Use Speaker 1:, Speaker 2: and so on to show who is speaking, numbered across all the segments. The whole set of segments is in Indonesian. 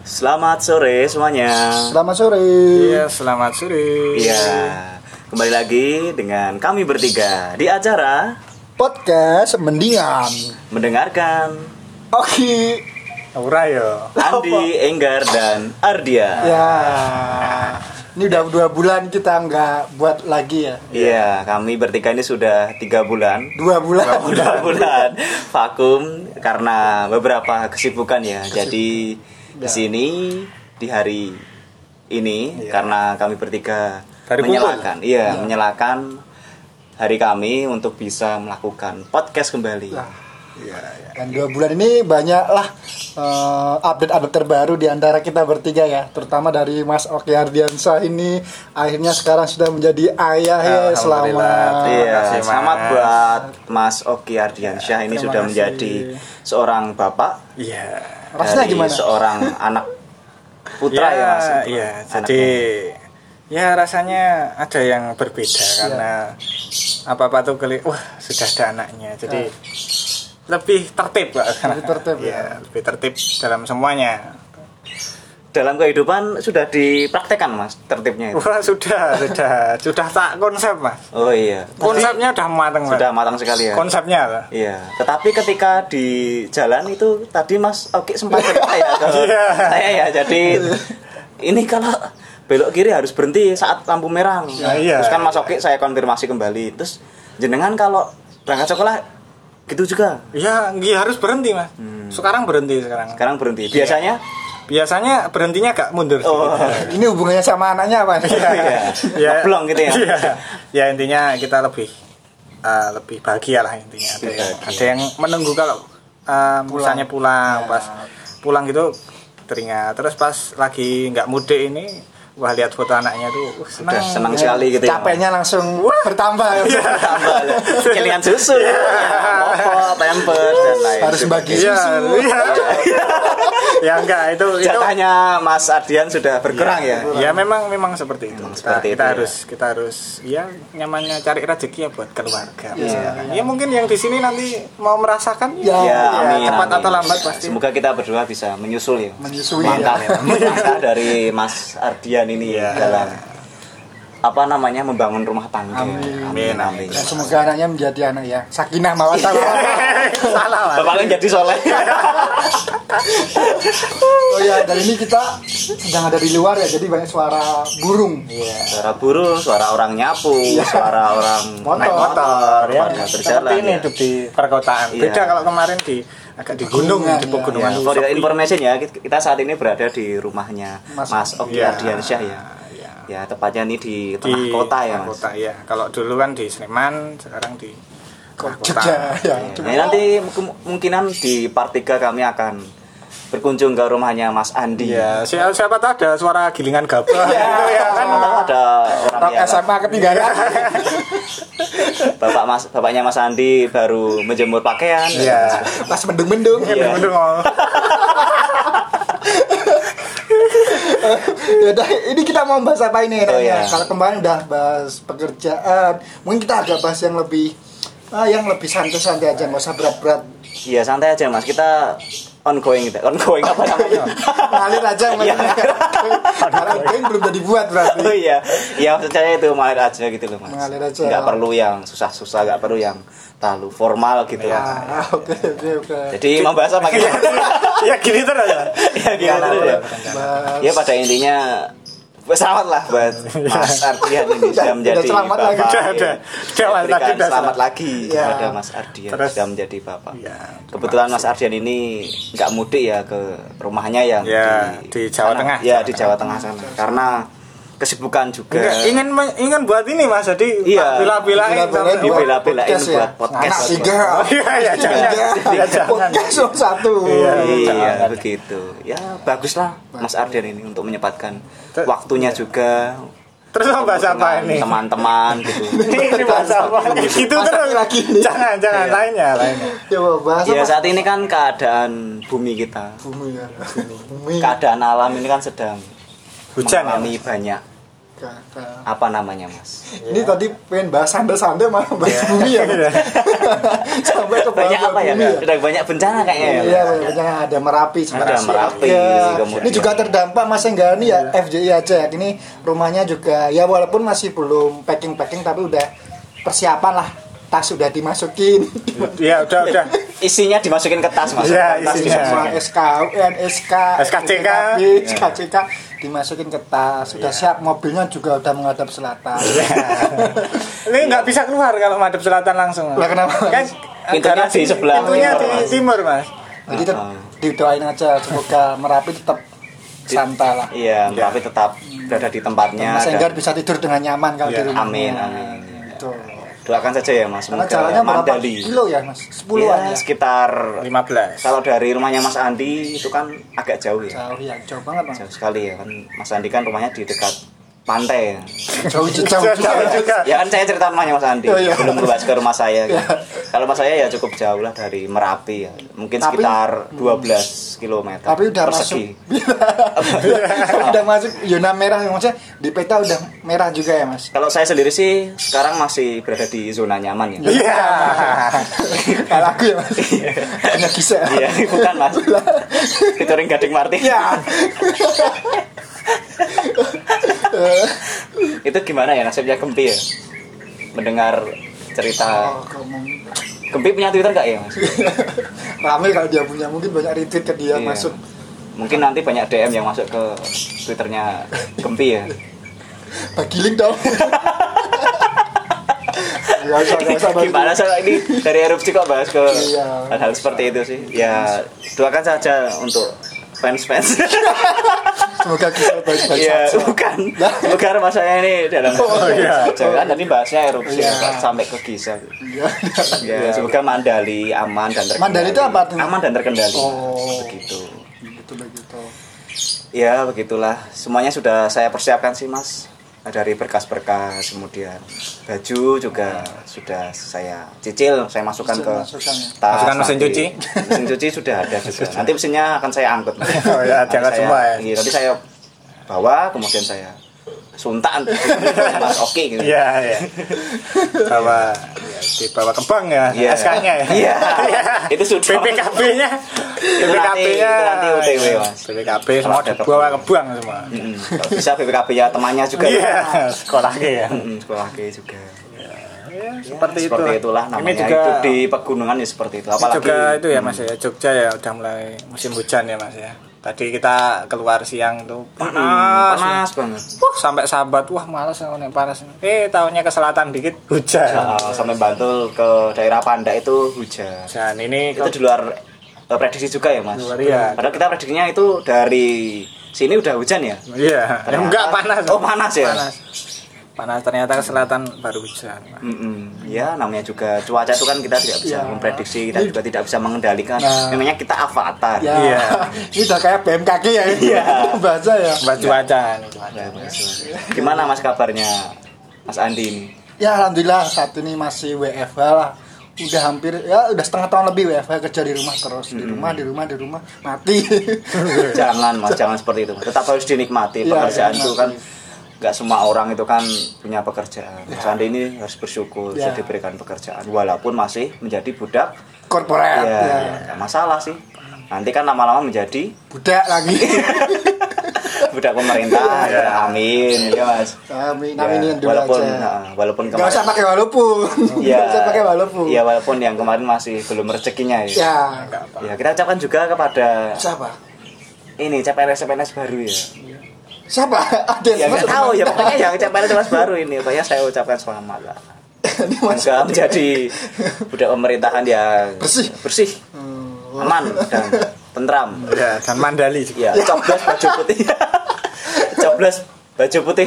Speaker 1: Selamat sore semuanya.
Speaker 2: Selamat sore.
Speaker 3: Iya, selamat sore.
Speaker 1: Iya, kembali lagi dengan kami bertiga di acara
Speaker 2: Podcast mendingan.
Speaker 1: mendengarkan
Speaker 2: Oke.
Speaker 3: Aura ya.
Speaker 1: Andi, Enggar dan Ardia.
Speaker 2: Ya. Ini udah dua bulan kita nggak buat lagi ya.
Speaker 1: Iya, kami bertiga ini sudah tiga bulan.
Speaker 2: Dua bulan.
Speaker 1: Dua bulan vakum karena beberapa kesibukan ya. Jadi di sini di hari ini karena kami bertiga
Speaker 3: Hari kumpul.
Speaker 1: menyalakan, iya menyalakan hari kami untuk bisa melakukan podcast kembali.
Speaker 2: Iya, Dan dua bulan ini banyaklah eh, update-update terbaru di antara kita bertiga ya, terutama dari Mas Oki Ardiansa ini akhirnya sekarang sudah menjadi ayah ya. Selamat.
Speaker 1: Iya,
Speaker 3: Terima kasih,
Speaker 1: selamat
Speaker 3: Mas.
Speaker 1: buat Mas Oki Ardiansyah ini
Speaker 2: terima
Speaker 1: sudah
Speaker 2: kasih.
Speaker 1: menjadi seorang bapak
Speaker 3: Iya.
Speaker 2: Rasanya
Speaker 1: dari
Speaker 2: gimana?
Speaker 1: seorang anak putra ya, Mas.
Speaker 3: Iya,
Speaker 1: Anaknya.
Speaker 3: jadi ya rasanya ada yang berbeda
Speaker 1: Iya.
Speaker 3: karena apa-apa tuh kali wah sudah ada anaknya. Jadi
Speaker 1: Iya.
Speaker 3: lebih tertib, Pak.
Speaker 2: Lebih tertib, ya.
Speaker 3: Iya, lebih tertib dalam semuanya.
Speaker 1: dalam kehidupan sudah dipraktekkan Mas tertibnya itu.
Speaker 3: Wah, sudah, sudah, sudah tak konsep, Mas.
Speaker 1: Oh iya.
Speaker 3: Konsepnya udah matang, Pak.
Speaker 1: Sudah matang sekali ya.
Speaker 3: Konsepnya, Pak.
Speaker 1: Iya, tetapi ketika di jalan itu tadi Mas Oki sempat cerita ya ke
Speaker 3: Iya.
Speaker 1: saya ya. Jadi ini kalau belok kiri harus berhenti saat lampu merah nih.
Speaker 3: Ya, iya.
Speaker 1: Terus kan Mas Oki saya konfirmasi kembali. Terus jenengan kalau berangkat sekolah gitu juga.
Speaker 3: Iya, iya, harus berhenti, Mas. Sekarang berhenti sekarang.
Speaker 1: Hmm. Sekarang berhenti.
Speaker 3: Iya.
Speaker 1: Biasanya
Speaker 3: Biasanya berhentinya agak mundur.
Speaker 1: oh
Speaker 3: sedikit.
Speaker 2: Ini hubungannya sama anaknya apa?
Speaker 1: iya. Ngeblong gitu ya.
Speaker 3: Iya. Ya, intinya kita lebih eh, lebih bahagia lah intinya. Ada, yang,
Speaker 1: Bahagia.
Speaker 3: ada yang menunggu kalau eh, misalnya
Speaker 1: Ya.
Speaker 3: pulang pas pulang gitu teringat. Terus pas lagi nggak mudik ini wah lihat foto anaknya tuh wah, senang.
Speaker 1: udah senang sekali gitu ya. Iya.
Speaker 2: Capeknya langsung bertambah.
Speaker 1: Tambah lah. Pilihan susu, popok, pamper dan lain
Speaker 2: Harus bagi
Speaker 3: Iya,
Speaker 2: susu.
Speaker 3: iya. ya enggak itu itu
Speaker 1: Jatahnya Mas Ardian sudah berkurang ya.
Speaker 3: Ya memang memang seperti itu. Kita,
Speaker 1: seperti
Speaker 3: kita
Speaker 1: itu, ya.
Speaker 3: harus kita harus ya nyamannya cari rezeki ya buat
Speaker 1: Iya.
Speaker 3: keluarga. misalkan. Ya mungkin yang di sini nanti mau merasakan
Speaker 1: Ya,
Speaker 2: Ya,
Speaker 3: ya,
Speaker 1: amin,
Speaker 3: cepat
Speaker 1: amin.
Speaker 3: atau lambat pasti.
Speaker 1: Semoga kita berdua bisa menyusul ya.
Speaker 2: Menyusui,
Speaker 1: Langkah,
Speaker 2: ya.
Speaker 1: langkah dari Mas Ardian ini ya
Speaker 3: Iya.
Speaker 1: dalam apa namanya membangun rumah tangga.
Speaker 3: Amin, amin.
Speaker 2: Dan Ya, semoga anaknya menjadi anak yang sakinah mawaddah
Speaker 1: Iya.
Speaker 2: warahmah.
Speaker 3: Salah lah.
Speaker 1: Bapaknya kan jadi soleh.
Speaker 2: Oh ya, dari ini kita sedang ada di luar ya, jadi banyak suara burung.
Speaker 1: suara buruh, suara orang nyapu, suara orang
Speaker 2: Motor.
Speaker 1: naik motor,
Speaker 3: Ya,
Speaker 1: warga berjalan.
Speaker 3: Iya. seperti ini
Speaker 1: ya.
Speaker 3: hidup di perkotaan.
Speaker 1: Iya.
Speaker 3: Beda kalau kemarin di agak di gunung,
Speaker 2: Pegunungan,
Speaker 3: di
Speaker 2: ya.
Speaker 3: pegunungan.
Speaker 1: For your information ya, kita kita saat ini berada di rumahnya
Speaker 2: Mas-
Speaker 1: Mas Oki
Speaker 3: Iya.
Speaker 1: Ardiansyah ya.
Speaker 3: Iya.
Speaker 1: Ya, tepatnya ini di
Speaker 3: Di
Speaker 1: tengah kota ya, Mas.
Speaker 3: Kota ya. Kalau dulu kan di Sleman, sekarang di tengah
Speaker 2: Jogja, ya.
Speaker 1: Nah, nanti mungkin- kemungkinan di part 3 kami akan berkunjung ke rumahnya Mas Andi.
Speaker 3: Iya, siapa, siapa tahu ada suara gilingan gabah. Itu ya kan.
Speaker 1: Siapa tahu ada orang
Speaker 2: Rock
Speaker 1: yang-
Speaker 2: SMA ketinggalan.
Speaker 1: bapak Mas bapaknya Mas Andi baru menjemur pakaian.
Speaker 2: ya.
Speaker 3: Iya.
Speaker 2: Pas mendung-mendung.
Speaker 1: Iya.
Speaker 3: Mendung-mendung, oh.
Speaker 2: Ya udah, ini kita mau bahas apa ini
Speaker 1: Oh,
Speaker 2: Ren, ya?
Speaker 1: iya.
Speaker 2: Kalau kemarin udah bahas pekerjaan, mungkin kita agak bahas yang lebih ah, yang lebih santai-santai aja, nggak usah berat-berat.
Speaker 1: Iya, santai aja Mas. Kita ongoing kita. Ongoing apa
Speaker 2: Iya.
Speaker 1: namanya?
Speaker 2: Ngalir aja yang
Speaker 1: Iya.
Speaker 2: penting. Karena game belum jadi buat berarti.
Speaker 1: Oh iya, ya maksud saya itu mengalir aja gitu loh mas.
Speaker 2: Mengalir aja.
Speaker 1: Nggak perlu yang susah-susah, nggak perlu yang terlalu formal gitu. ya.
Speaker 2: Ah, oke, oke, oke.
Speaker 1: Jadi membahas apa gitu? kita?
Speaker 3: ya gini terus ya.
Speaker 1: ya gitu dulu ya.
Speaker 2: Bahas-
Speaker 1: Ya pada intinya selamat lah buat Mas Ardian ini sudah menjadi
Speaker 2: udah selamat
Speaker 1: bapak.
Speaker 2: lagi.
Speaker 3: Udah, udah. Udah,
Speaker 1: Saya
Speaker 3: Mas,
Speaker 1: berikan
Speaker 3: tadi udah
Speaker 1: selamat
Speaker 3: selamat.
Speaker 1: lagi
Speaker 2: Ya.
Speaker 1: kepada Mas Ardian
Speaker 3: Terus-
Speaker 1: sudah menjadi bapak.
Speaker 3: Ya,
Speaker 1: Kebetulan Mas Ardian ini nggak mudik ya ke rumahnya yang
Speaker 3: Ya, di Jawa
Speaker 1: sana.
Speaker 3: Tengah.
Speaker 1: Ya di Jawa Tengah sana karena kesibukan juga.
Speaker 3: Enggak, ingin me- ingin buat ini Mas jadi
Speaker 1: Iya.
Speaker 2: Bila-bilain
Speaker 3: bila-bilain sampai-
Speaker 2: buat
Speaker 1: Dibela-belain
Speaker 2: podcast, ya.
Speaker 1: buat podcast.
Speaker 2: Anak tiga.
Speaker 3: Oh, Iya, ya jangan.
Speaker 2: Tiga.
Speaker 3: Ya, jangan.
Speaker 2: Podcast nomor satu.
Speaker 3: Iya.
Speaker 1: Iya
Speaker 3: Jangan.
Speaker 1: begitu. Ya baguslah Mas Ardian ini untuk menyempatkan
Speaker 3: Ter-
Speaker 1: waktunya juga.
Speaker 3: Terus mau bahas Iya. apa
Speaker 1: dengan
Speaker 3: ini?
Speaker 1: Teman-teman gitu.
Speaker 3: Ini ini bahas apa? Gitu
Speaker 2: Masa
Speaker 3: terus
Speaker 2: lagi ini.
Speaker 3: Jangan, jangan lainnya, lainnya.
Speaker 2: Coba bahas
Speaker 1: Ya
Speaker 2: apa?
Speaker 1: saat ini kan keadaan bumi kita,
Speaker 2: Bumi ya. Bumi.
Speaker 1: keadaan alam ini kan sedang
Speaker 3: Hujan ya.
Speaker 1: mengalami banyak
Speaker 2: Kakak.
Speaker 1: Apa namanya mas?
Speaker 2: Ini tadi pengen bahas santai-santai malah bahas bumi ya. Sampai ke
Speaker 1: Banyak
Speaker 2: bahas
Speaker 1: apa ya?
Speaker 2: bumi
Speaker 1: Udah banyak bencana kayaknya ya.
Speaker 2: Iya, banyak bencana. ada Merapi sebenarnya. Iya.
Speaker 1: Ada Merapi, kemudian-
Speaker 2: Ini juga terdampak Mas Enggani ya FJI Aceh. Ini rumahnya juga ya walaupun masih belum packing-packing tapi udah persiapan lah. Tas sudah dimasukin.
Speaker 3: ya udah udah
Speaker 1: Isinya dimasukin ke tas mas.
Speaker 3: Iya,
Speaker 2: Nah,
Speaker 1: Tas
Speaker 3: isinya.
Speaker 1: dimasukin.
Speaker 2: Semua SKUN, SK,
Speaker 3: SKCK.
Speaker 2: SKCK, SKCK Iya. dimasukin ke tas. Sudah siap mobilnya juga udah menghadap selatan.
Speaker 3: ini nggak bisa keluar kalau madep selatan langsung
Speaker 2: Lah, kenapa, Mas?
Speaker 3: kan
Speaker 1: Pintunya
Speaker 3: garasi-
Speaker 1: di sebelah
Speaker 3: pintunya
Speaker 1: timur,
Speaker 3: di
Speaker 1: Mas.
Speaker 3: timur mas
Speaker 2: Jadi tet- didoain aja semoga Merapi tetap santai lah.
Speaker 1: Iya, tapi tetap berada di tempatnya.
Speaker 2: Mas
Speaker 1: dan
Speaker 2: Enggar bisa tidur dengan nyaman kalau
Speaker 3: Iya,
Speaker 2: di rumah.
Speaker 1: Iya, amin, amin.
Speaker 2: Gitu.
Speaker 1: Doakan saja ya mas.
Speaker 2: Karena
Speaker 1: Semoga
Speaker 2: jalannya berapa
Speaker 1: Mandali.
Speaker 2: kilo ya mas?
Speaker 1: Ya,
Speaker 2: Sepuluhan ya?
Speaker 1: sekitar
Speaker 3: 15
Speaker 1: kalau dari rumahnya Mas Andi itu kan agak jauh ya.
Speaker 2: Jauh ya, jauh banget mas.
Speaker 1: Jauh sekali ya kan. Mas Andi kan rumahnya di dekat pantai. ya.
Speaker 2: Jauh jauh jauh.
Speaker 3: Jauh juga.
Speaker 1: Ya kan saya cerita rumahnya Mas Andi.
Speaker 2: Oh, iya.
Speaker 1: Belum berbahas ke rumah saya. Gitu. Kalau rumah saya ya cukup jauh lah dari Merapi ya. Mungkin
Speaker 2: Tapi- Hmm.
Speaker 1: sekitar 12 km.
Speaker 2: Tapi udah
Speaker 1: persegi.
Speaker 2: masuk. udah masuk zona merah maksudnya di peta udah merah juga ya mas.
Speaker 1: Kalau saya sendiri sih sekarang masih berada di zona nyaman ya.
Speaker 3: iya
Speaker 2: Kayak lagu ya mas. Hanya bisa.
Speaker 1: Iya, bukan Mas. Featuring Gading Martin.
Speaker 2: Ya.
Speaker 1: Itu gimana ya nasibnya Gempi ya? Mendengar cerita
Speaker 2: Oh, ngomong.
Speaker 1: Gempi punya Twitter nggak ya, Mas?
Speaker 2: Rame kalau dia punya mungkin banyak retweet ke dia
Speaker 1: Iya.
Speaker 2: masuk.
Speaker 1: Mungkin nanti banyak DM yang masuk ke Twitternya Gempi ya.
Speaker 2: Bagi link dong. Gak usah, gak usah. bagi
Speaker 1: Gimana soal ini dari erupsi kok bahas ke
Speaker 2: Iya.
Speaker 1: hal-hal seperti itu sih? Ya doakan saja untuk fans-fans.
Speaker 2: Semoga kita baik-baik
Speaker 1: Iya,
Speaker 2: saja.
Speaker 1: bukan. Bukan masalahnya ini dalam
Speaker 2: Oh, iya.
Speaker 1: Jangan tadi bahasnya erupsi
Speaker 2: Iya.
Speaker 1: ya, sampai ke kisah. Ya,
Speaker 2: Iya.
Speaker 1: semoga Mandali aman dan terkendali.
Speaker 2: Mandali itu apa artinya?
Speaker 1: Aman dan terkendali.
Speaker 2: Oh.
Speaker 1: Begitu.
Speaker 2: Begitu begitu.
Speaker 1: Ya, begitulah. Semuanya sudah saya persiapkan sih, Mas. Dari berkas-berkas, kemudian baju juga sudah saya cicil, saya masukkan
Speaker 2: Cicil,
Speaker 1: ke
Speaker 2: masukkan ya.
Speaker 1: tas.
Speaker 3: Masukkan mesin
Speaker 1: nanti.
Speaker 3: cuci?
Speaker 1: Mesin cuci sudah ada juga. Nanti mesinnya akan saya angkut. Mas.
Speaker 3: Oh ya,
Speaker 1: Nanti
Speaker 3: diangkat
Speaker 1: saya-
Speaker 3: semua ya?
Speaker 1: Iya, nanti saya bawa, kemudian saya suntan Mas Oki gitu.
Speaker 3: iya iya bawa ya, dibawa ke bank ya
Speaker 1: Iya.
Speaker 3: SK-nya ya
Speaker 1: Iya. Itu sudah.
Speaker 3: BPKB-nya BPKB-nya
Speaker 1: itu nanti UTW, Mas.
Speaker 3: BPKB semua
Speaker 1: ada
Speaker 3: dibawa ke bank semua
Speaker 1: Mm-mm. Hmm, Kalau bisa BPKB ya temannya juga.
Speaker 3: iya sekolahnya ya
Speaker 1: Mm, sekolah gay juga.
Speaker 3: Ya, seperti,
Speaker 1: seperti
Speaker 3: itu.
Speaker 1: itulah namanya
Speaker 3: ini juga
Speaker 1: hidup di Hmm. pegunungan ya seperti itu. Apalagi
Speaker 3: juga itu ya mas ya Jogja ya udah mulai musim hujan ya mas ya tadi kita keluar siang tuh panas,
Speaker 1: Hmm, panas banget.
Speaker 3: Wah, sampai sahabat wah malas aku nih panas eh tahunnya ke selatan dikit hujan
Speaker 1: Nah, sampai Bantul ke daerah Panda itu hujan.
Speaker 3: dan ini
Speaker 1: Itu di luar eh, prediksi juga ya mas.
Speaker 3: Di luar, iya.
Speaker 1: Padahal kita prediksinya itu dari sini udah hujan ya.
Speaker 3: iya
Speaker 1: Ternyata-
Speaker 3: enggak panas
Speaker 1: Oh panas ya.
Speaker 3: panas panas ternyata ke selatan baru hujan Mas.
Speaker 1: Mm-mm. Ya namanya juga cuaca itu kan kita tidak bisa
Speaker 2: Iya.
Speaker 1: memprediksi, kita juga tidak bisa mengendalikan.
Speaker 2: Nah.
Speaker 1: Memangnya kita avatar.
Speaker 2: Ya.
Speaker 3: Iya.
Speaker 2: Ini udah kayak BMKG ya. Iya. Bahasa ya.
Speaker 3: Mbak
Speaker 1: Iya.
Speaker 3: cuaca ini cuaca
Speaker 1: Ya, Mas. Gimana mas kabarnya Mas Andi ini?
Speaker 2: Ya alhamdulillah saat ini masih WFH lah. Udah hampir ya udah setengah tahun lebih WFH kerja di rumah terus di
Speaker 1: Hmm.
Speaker 2: rumah di rumah di rumah mati.
Speaker 1: jangan mas jangan seperti itu Mas. tetap harus dinikmati
Speaker 2: Iya,
Speaker 1: pekerjaan
Speaker 2: iya,
Speaker 1: itu
Speaker 2: Mas.
Speaker 1: kan nggak semua orang itu kan punya pekerjaan
Speaker 2: Iya.
Speaker 1: Mas Andi ini harus bersyukur sudah
Speaker 2: Ya.
Speaker 1: diberikan pekerjaan walaupun masih menjadi budak
Speaker 2: Korporat.
Speaker 1: ya
Speaker 2: ya.
Speaker 1: nggak masalah sih nanti kan lama-lama menjadi
Speaker 2: Budak lagi.
Speaker 1: budak pemerintah ya, amin ya mas
Speaker 2: Amin.
Speaker 1: Ya,
Speaker 2: Amin Iya. dulu
Speaker 1: walaupun nah,
Speaker 2: aja.
Speaker 1: Iya. walaupun
Speaker 2: Gak usah pakai walaupun. Gak usah pakai walaupun.
Speaker 1: ya walaupun yang kemarin masih belum rezekinya ya,
Speaker 2: Ya.
Speaker 1: ya kita ucapkan juga kepada
Speaker 2: Siapa?
Speaker 1: ini CPNS CPNS baru ya
Speaker 2: Siapa? Ada
Speaker 1: ya
Speaker 2: yang
Speaker 1: nggak tahu ya pokoknya yang ucapan itu mas baru ini pokoknya saya ucapkan selamat lah
Speaker 2: Ini mas.
Speaker 1: semoga menjadi budak pemerintahan yang
Speaker 2: Bersih.
Speaker 1: bersih
Speaker 2: Hmm,
Speaker 1: aman dan tentram
Speaker 3: ya dan Mandali juga
Speaker 1: ya coblos baju putih coblos baju putih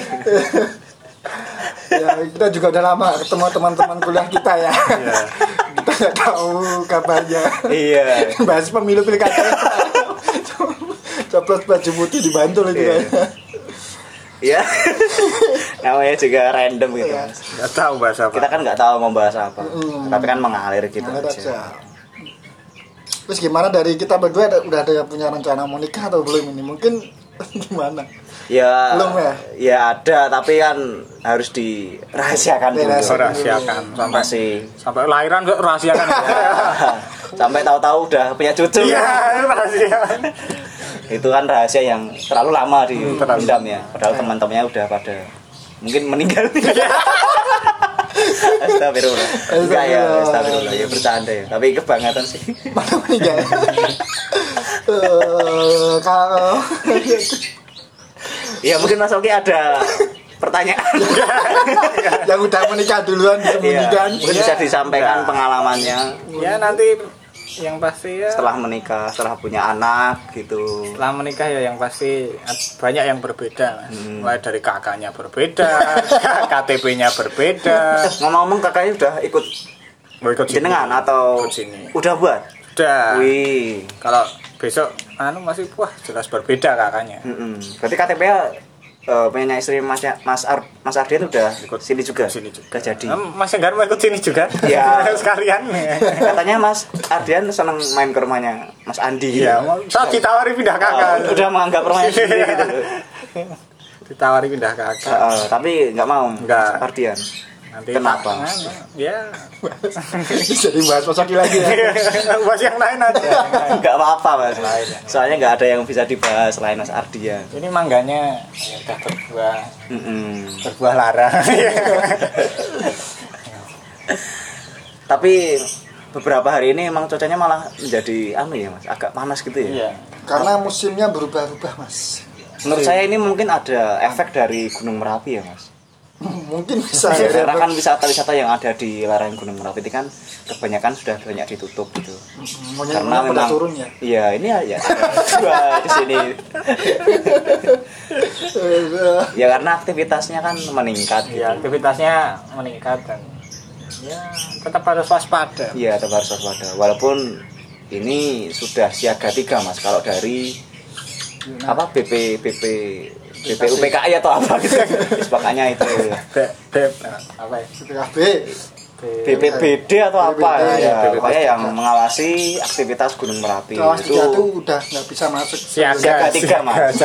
Speaker 2: ya kita juga udah lama ketemu teman-teman kuliah kita ya kita nggak tahu kabarnya
Speaker 1: iya
Speaker 2: bahas pemilu pilkada coplos baju putih di Bantul itu
Speaker 1: Iya.
Speaker 2: kan
Speaker 1: ya namanya juga random gitu
Speaker 2: Iya.
Speaker 1: Mas.
Speaker 3: nggak tahu bahasa apa
Speaker 1: kita kan nggak tahu membahas apa
Speaker 2: Mm.
Speaker 1: tapi kan mengalir gitu
Speaker 2: Ngalir aja.
Speaker 1: aja
Speaker 2: terus gimana dari kita berdua ada- udah ada yang punya rencana mau nikah atau belum ini mungkin gimana
Speaker 1: ya
Speaker 2: Belum ya?
Speaker 1: ya ada tapi kan harus dirahasiakan dulu
Speaker 2: Dirahasiakan.
Speaker 3: rahasiakan sampai
Speaker 1: masih
Speaker 3: sampai lahiran kok rahasiakan ya.
Speaker 1: sampai tahu-tahu udah punya cucu
Speaker 3: Iya, itu rahasia.
Speaker 1: itu kan rahasia yang terlalu lama di
Speaker 3: Hmm, terlalu Iya.
Speaker 1: pendam ya padahal teman-temannya udah pada mungkin meninggal Astagfirullah Enggak ya
Speaker 2: Astagfirullah.
Speaker 1: Astagfirullah ya bercanda ya Tapi kebangetan sih
Speaker 2: mana meninggal Eh, kalau
Speaker 1: Ya mungkin Mas Oki ada pertanyaan
Speaker 3: Iya,
Speaker 2: yang udah menikah duluan
Speaker 1: Iya,
Speaker 2: disembunyikan
Speaker 1: Mungkin bisa
Speaker 3: Iya.
Speaker 1: disampaikan pengalamannya
Speaker 3: Ya nanti yang pasti ya
Speaker 1: Setelah menikah, setelah punya anak gitu
Speaker 3: setelah menikah ya yang pasti ad- banyak yang berbeda Mas.
Speaker 1: Hmm.
Speaker 3: mulai dari kakaknya berbeda KTP-nya berbeda
Speaker 1: Ngomong-ngomong kakaknya udah ikut
Speaker 3: mau ikut sini.
Speaker 1: jenengan atau
Speaker 3: ikut sini Ah.
Speaker 1: udah buat?
Speaker 3: udah
Speaker 1: Wih
Speaker 3: kalau besok anu masih wah jelas berbeda kakaknya
Speaker 1: Mm-mm. Berarti KTP-nya eh, punya istri Mas Mas Ar, Mas Ardian udah
Speaker 3: Ikut
Speaker 1: sini juga.
Speaker 3: sini juga.
Speaker 1: Udah jadi.
Speaker 3: Em, Mas Enggar mau ikut sini juga
Speaker 1: Ya.
Speaker 3: sekalian
Speaker 1: Eh, Katanya Mas Ardian seneng main ke rumahnya Mas Andi gitu.
Speaker 3: ya mau saya ditawari
Speaker 1: Oh,
Speaker 3: pindah kakak
Speaker 1: udah menganggap rumahnya sendiri gitu.
Speaker 3: ditawari pindah kakak
Speaker 1: Heeh, tapi nggak mau
Speaker 3: Nggak.
Speaker 1: Mas Ardian.
Speaker 3: nanti
Speaker 1: Kenapa?
Speaker 3: anu, ya
Speaker 2: jadi bahas Mas Oki lagi ya
Speaker 3: buat yang lain aja
Speaker 1: Nggak apa-apa Mas.
Speaker 3: Lain.
Speaker 1: Soalnya nggak ada yang bisa dibahas selain Mas Ardian.
Speaker 3: ini mangganya ya udah berbuah
Speaker 1: Mm-mm.
Speaker 3: berbuah lara
Speaker 1: Tapi beberapa hari ini emang cuacanya malah menjadi anu ya Mas, agak panas gitu ya.
Speaker 3: iya
Speaker 2: karena musimnya berubah-ubah mas
Speaker 1: Menurut saya ini mungkin ada efek dari Gunung Merapi ya Mas.
Speaker 2: mungkin bisa
Speaker 1: Ya,
Speaker 2: ya,
Speaker 1: karena kan wisata-wisata yang ada di lereng Gunung Merapi itu kan kebanyakan sudah banyak ditutup gitu.
Speaker 2: maunya
Speaker 1: karena
Speaker 2: pada
Speaker 1: memang
Speaker 2: turun ya
Speaker 1: Iya, ini ya ada dua di sini.
Speaker 2: Eh,
Speaker 1: Ya karena aktivitasnya kan meningkat
Speaker 2: Iya.
Speaker 1: gitu.
Speaker 3: ya aktivitasnya meningkat dan ya tetap harus waspada
Speaker 1: Iya, tetap harus waspada. Walaupun ini sudah siaga 3 Mas kalau dari
Speaker 2: Iya.
Speaker 1: apa BP BP BPUPKI atau apa gitu. Terus Makanya itu
Speaker 3: Be, be, apa ya?
Speaker 2: BPKB
Speaker 3: Be-
Speaker 1: BPBD atau apa
Speaker 2: BPBD,
Speaker 1: ya,
Speaker 3: BPBD.
Speaker 1: pokoknya yang mengawasi aktivitas Gunung Merapi
Speaker 2: kelas
Speaker 1: itu
Speaker 2: tiga tuh udah nggak bisa masuk
Speaker 1: Siaga
Speaker 3: siaga
Speaker 1: tiga, Mas.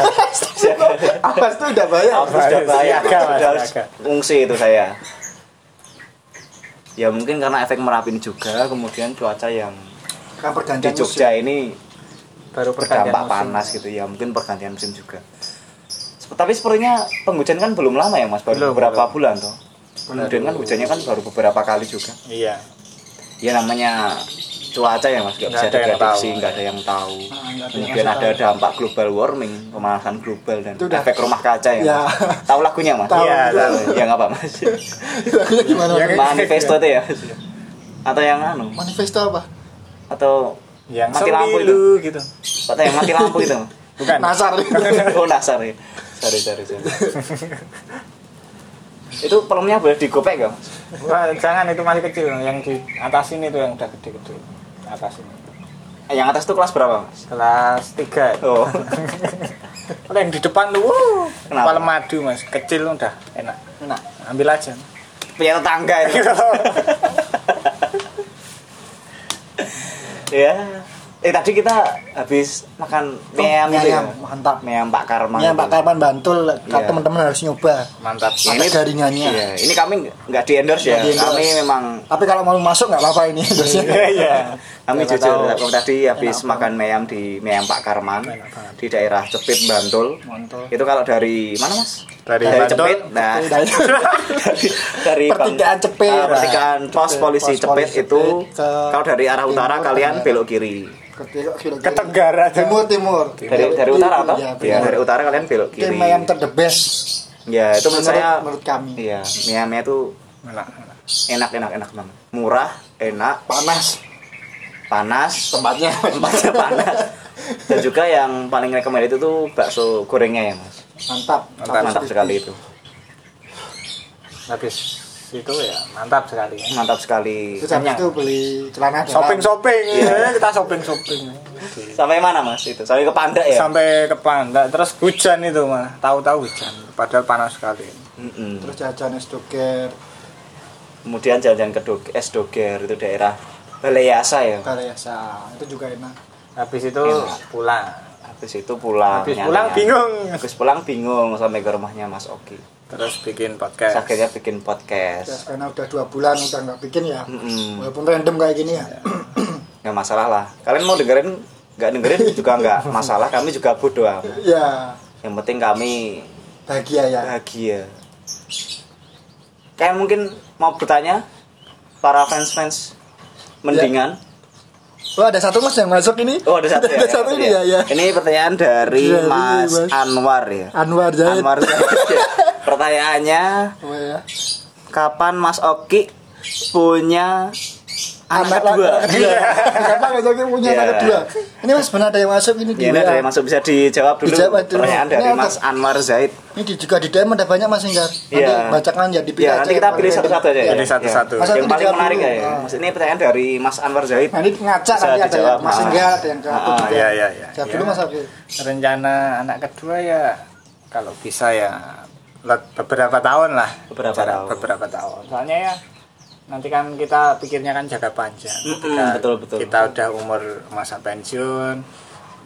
Speaker 3: siaga.
Speaker 2: awas tuh udah bayar
Speaker 1: Harus sudah bahaya,
Speaker 3: Siaga, Mas,
Speaker 1: sudah harus
Speaker 3: siaga.
Speaker 1: fungsi itu saya. Ya mungkin karena efek merapi ini juga, kemudian cuaca yang
Speaker 2: kan
Speaker 1: di
Speaker 2: pergantian
Speaker 1: Jogja ini
Speaker 3: baru pergantian
Speaker 1: berdampak
Speaker 3: musim.
Speaker 1: panas gitu ya, mungkin pergantian musim juga. Sep- Tapi sepertinya penghujan kan belum lama ya mas, baru
Speaker 3: Belum,
Speaker 1: beberapa bulan toh. Kemudian kan hujannya kan baru beberapa kali juga.
Speaker 3: iya
Speaker 1: Ya namanya cuaca ya mas, nggak
Speaker 3: Nggak
Speaker 1: bisa
Speaker 3: ada yang
Speaker 1: diprediksi,
Speaker 3: tahu.
Speaker 1: nggak ada yang tahu.
Speaker 2: Ah, nggak ada yang
Speaker 1: Kemudian
Speaker 2: masuk
Speaker 1: ada dampak global warming, pemanasan global dan
Speaker 2: Itu udah-
Speaker 1: efek rumah kaca ya.
Speaker 2: Ya.
Speaker 1: Mas. Tahu lagunya mas?
Speaker 2: Tahu.
Speaker 1: Iya, tahu. Ya nggak apa mas.
Speaker 2: musim. lagunya gimana
Speaker 3: Ya,
Speaker 2: Mas?
Speaker 3: kayak-
Speaker 1: manifesto itu ya atau yang anu
Speaker 2: manifesto apa
Speaker 1: atau
Speaker 3: yang
Speaker 1: mati lampu itu
Speaker 3: semilu gitu Nah,
Speaker 1: atau yang mati lampu itu
Speaker 3: bukan
Speaker 2: nasar
Speaker 1: oh dasar ya sorry sorry sorry itu pelumnya boleh digopek gak Mas?
Speaker 3: Wah, eh, jangan itu masih kecil yang di atas ini tuh yang udah gede-gede atas ini
Speaker 1: yang atas itu kelas berapa mas
Speaker 3: kelas 3
Speaker 1: oh
Speaker 3: Kalau yang di depan tuh wuh,
Speaker 1: Kenapa?
Speaker 3: kepala madu mas kecil udah enak
Speaker 1: Nah,
Speaker 2: enak
Speaker 3: ambil aja
Speaker 1: punya tetangga
Speaker 2: Iya,
Speaker 1: itu ya eh tadi kita habis makan meyam itu ya
Speaker 2: meyam, Oh, mantap.
Speaker 1: meyam Pak Karman
Speaker 2: ini Pak
Speaker 1: itu.
Speaker 2: Karman Iya, Bantul kalau
Speaker 1: Iya.
Speaker 2: teman-teman harus nyoba
Speaker 3: mantap
Speaker 2: Ini jaringannya.
Speaker 1: Iya, ini kami nggak di endorse ya
Speaker 2: Nggak di-endorse.
Speaker 1: kami memang
Speaker 2: tapi kalau mau masuk nggak apa-apa ini dosnya
Speaker 3: iya
Speaker 1: Kami
Speaker 3: Siapa
Speaker 1: jujur,
Speaker 3: tahu.
Speaker 1: aku tadi habis makan meyam di meyam Pak Karman
Speaker 3: Enak banget.
Speaker 1: di daerah Cepit Bantul.
Speaker 2: Mantul.
Speaker 1: Itu kalau dari mana mas?
Speaker 3: Dari Bantul.
Speaker 1: Cepit, nah dari, dari Bang-
Speaker 2: Pertigaan Cepit.
Speaker 1: Ah, pertigaan pos
Speaker 2: Cepit,
Speaker 1: polisi
Speaker 2: pos
Speaker 1: Cepit
Speaker 2: polisi
Speaker 1: itu
Speaker 2: Cepit ke
Speaker 1: kalau dari arah utara
Speaker 2: timur,
Speaker 1: kalian
Speaker 2: tengah.
Speaker 1: belok kiri.
Speaker 3: ke Tenggara
Speaker 2: timur timur
Speaker 1: Dari dari utara atau?
Speaker 2: Iya,
Speaker 1: Ya, dari
Speaker 2: benar.
Speaker 1: utara kalian belok kiri.
Speaker 2: tim yang terdebes
Speaker 1: Ya itu menurut
Speaker 2: Menurut-
Speaker 1: saya.
Speaker 2: menurut kami.
Speaker 1: Iya, meyamnya itu
Speaker 3: enak
Speaker 1: enak enak enak banget. Murah, enak,
Speaker 2: panas
Speaker 1: panas,
Speaker 2: tempatnya
Speaker 1: tempatnya panas dan juga yang paling rekomend itu tuh bakso gorengnya ya mas
Speaker 2: mantap
Speaker 1: mantap, sekali itu
Speaker 3: habis itu ya mantap sekali ya.
Speaker 1: mantap sekali
Speaker 2: terus habis itu beli celana dalam.
Speaker 3: shopping shopping Iya, kita shopping shopping
Speaker 1: sampai mana mas itu sampai ke Panda ya
Speaker 3: sampai ke Panda terus hujan itu mah tahu-tahu hujan padahal panas sekali
Speaker 1: Mm-mm.
Speaker 2: terus jajan es doger
Speaker 1: kemudian jalan-jalan ke Dog- es doger itu daerah Baleyasa ya
Speaker 2: karya sa itu juga enak
Speaker 3: habis itu pulang
Speaker 1: habis itu pulang
Speaker 3: Habis
Speaker 1: nyantai-
Speaker 3: pulang
Speaker 1: nyantai.
Speaker 3: bingung.
Speaker 1: habis pulang bingung sampai ke rumahnya Mas Oki
Speaker 3: Terus bikin podcast.
Speaker 1: Terus akhirnya bikin podcast
Speaker 2: Ya, karena udah dua bulan udah nggak bikin ya
Speaker 1: Mm-mm.
Speaker 2: walaupun random kayak gini ya
Speaker 1: nggak masalah lah kalian mau dengerin nggak dengerin juga nggak masalah kami juga bodo amat
Speaker 2: ya
Speaker 1: yang penting kami
Speaker 2: bahagia ya
Speaker 1: bahagia kayak mungkin mau bertanya para fans fans mendingan
Speaker 2: oh ada satu mas yang masuk ini
Speaker 1: oh ada satu ya, yang
Speaker 2: satu
Speaker 1: satu
Speaker 2: ini ya, ya.
Speaker 1: ini pertanyaan dari
Speaker 2: Dari
Speaker 1: Mas
Speaker 2: Mas
Speaker 1: Anwar ya
Speaker 2: Anwar Zahid
Speaker 1: Anwar Zahid. pertanyaannya
Speaker 2: Oh, ya.
Speaker 1: kapan Mas Oki punya anak,
Speaker 2: la-
Speaker 1: dua
Speaker 2: anak kedua kenapa mas Oki punya anak
Speaker 1: Ya.
Speaker 2: kedua ini mas benar ada yang masuk ini di
Speaker 1: Ya, ini
Speaker 2: WA.
Speaker 1: ada yang masuk bisa dijawab dulu.
Speaker 2: Iya, Dijawab dulu.
Speaker 1: Pertanyaan dari
Speaker 2: Ini apa?
Speaker 1: Mas Anwar Zaid.
Speaker 2: ini di- juga di DM ada banyak mas enggak nanti
Speaker 1: Iya.
Speaker 2: bacakan ya
Speaker 1: Ya,
Speaker 2: dipilih aja
Speaker 1: nanti
Speaker 2: yang
Speaker 1: kita
Speaker 2: paling
Speaker 1: pilih
Speaker 2: random.
Speaker 1: satu-satu aja. ya.
Speaker 3: Jadi satu-satu.
Speaker 1: Ya.
Speaker 2: Mas Oki
Speaker 1: Yang paling
Speaker 2: dijawab
Speaker 1: menarik
Speaker 2: dulu.
Speaker 1: ya. ya.
Speaker 2: Ah.
Speaker 1: Mas- Ini pertanyaan dari Mas Anwar Zaid.
Speaker 2: Nah, ini ngaca
Speaker 1: Bisa
Speaker 2: nanti ada
Speaker 1: dijawab,
Speaker 2: yang mas
Speaker 1: ah.
Speaker 2: enggak ada yang satu
Speaker 1: Ah,
Speaker 2: juga.
Speaker 3: ya, ya, ya.
Speaker 2: Jawab
Speaker 3: Ya.
Speaker 2: dulu mas Oki
Speaker 3: Rencana anak kedua ya kalau bisa ya le- beberapa tahun lah.
Speaker 1: Beberapa
Speaker 3: Cara-
Speaker 1: tahun.
Speaker 3: Beberapa tahun. Soalnya ya nanti kan kita pikirnya kan jaga panjang.
Speaker 1: Mm-mm,
Speaker 3: Ketika
Speaker 1: betul, betul.
Speaker 3: Kita udah umur masa pensiun.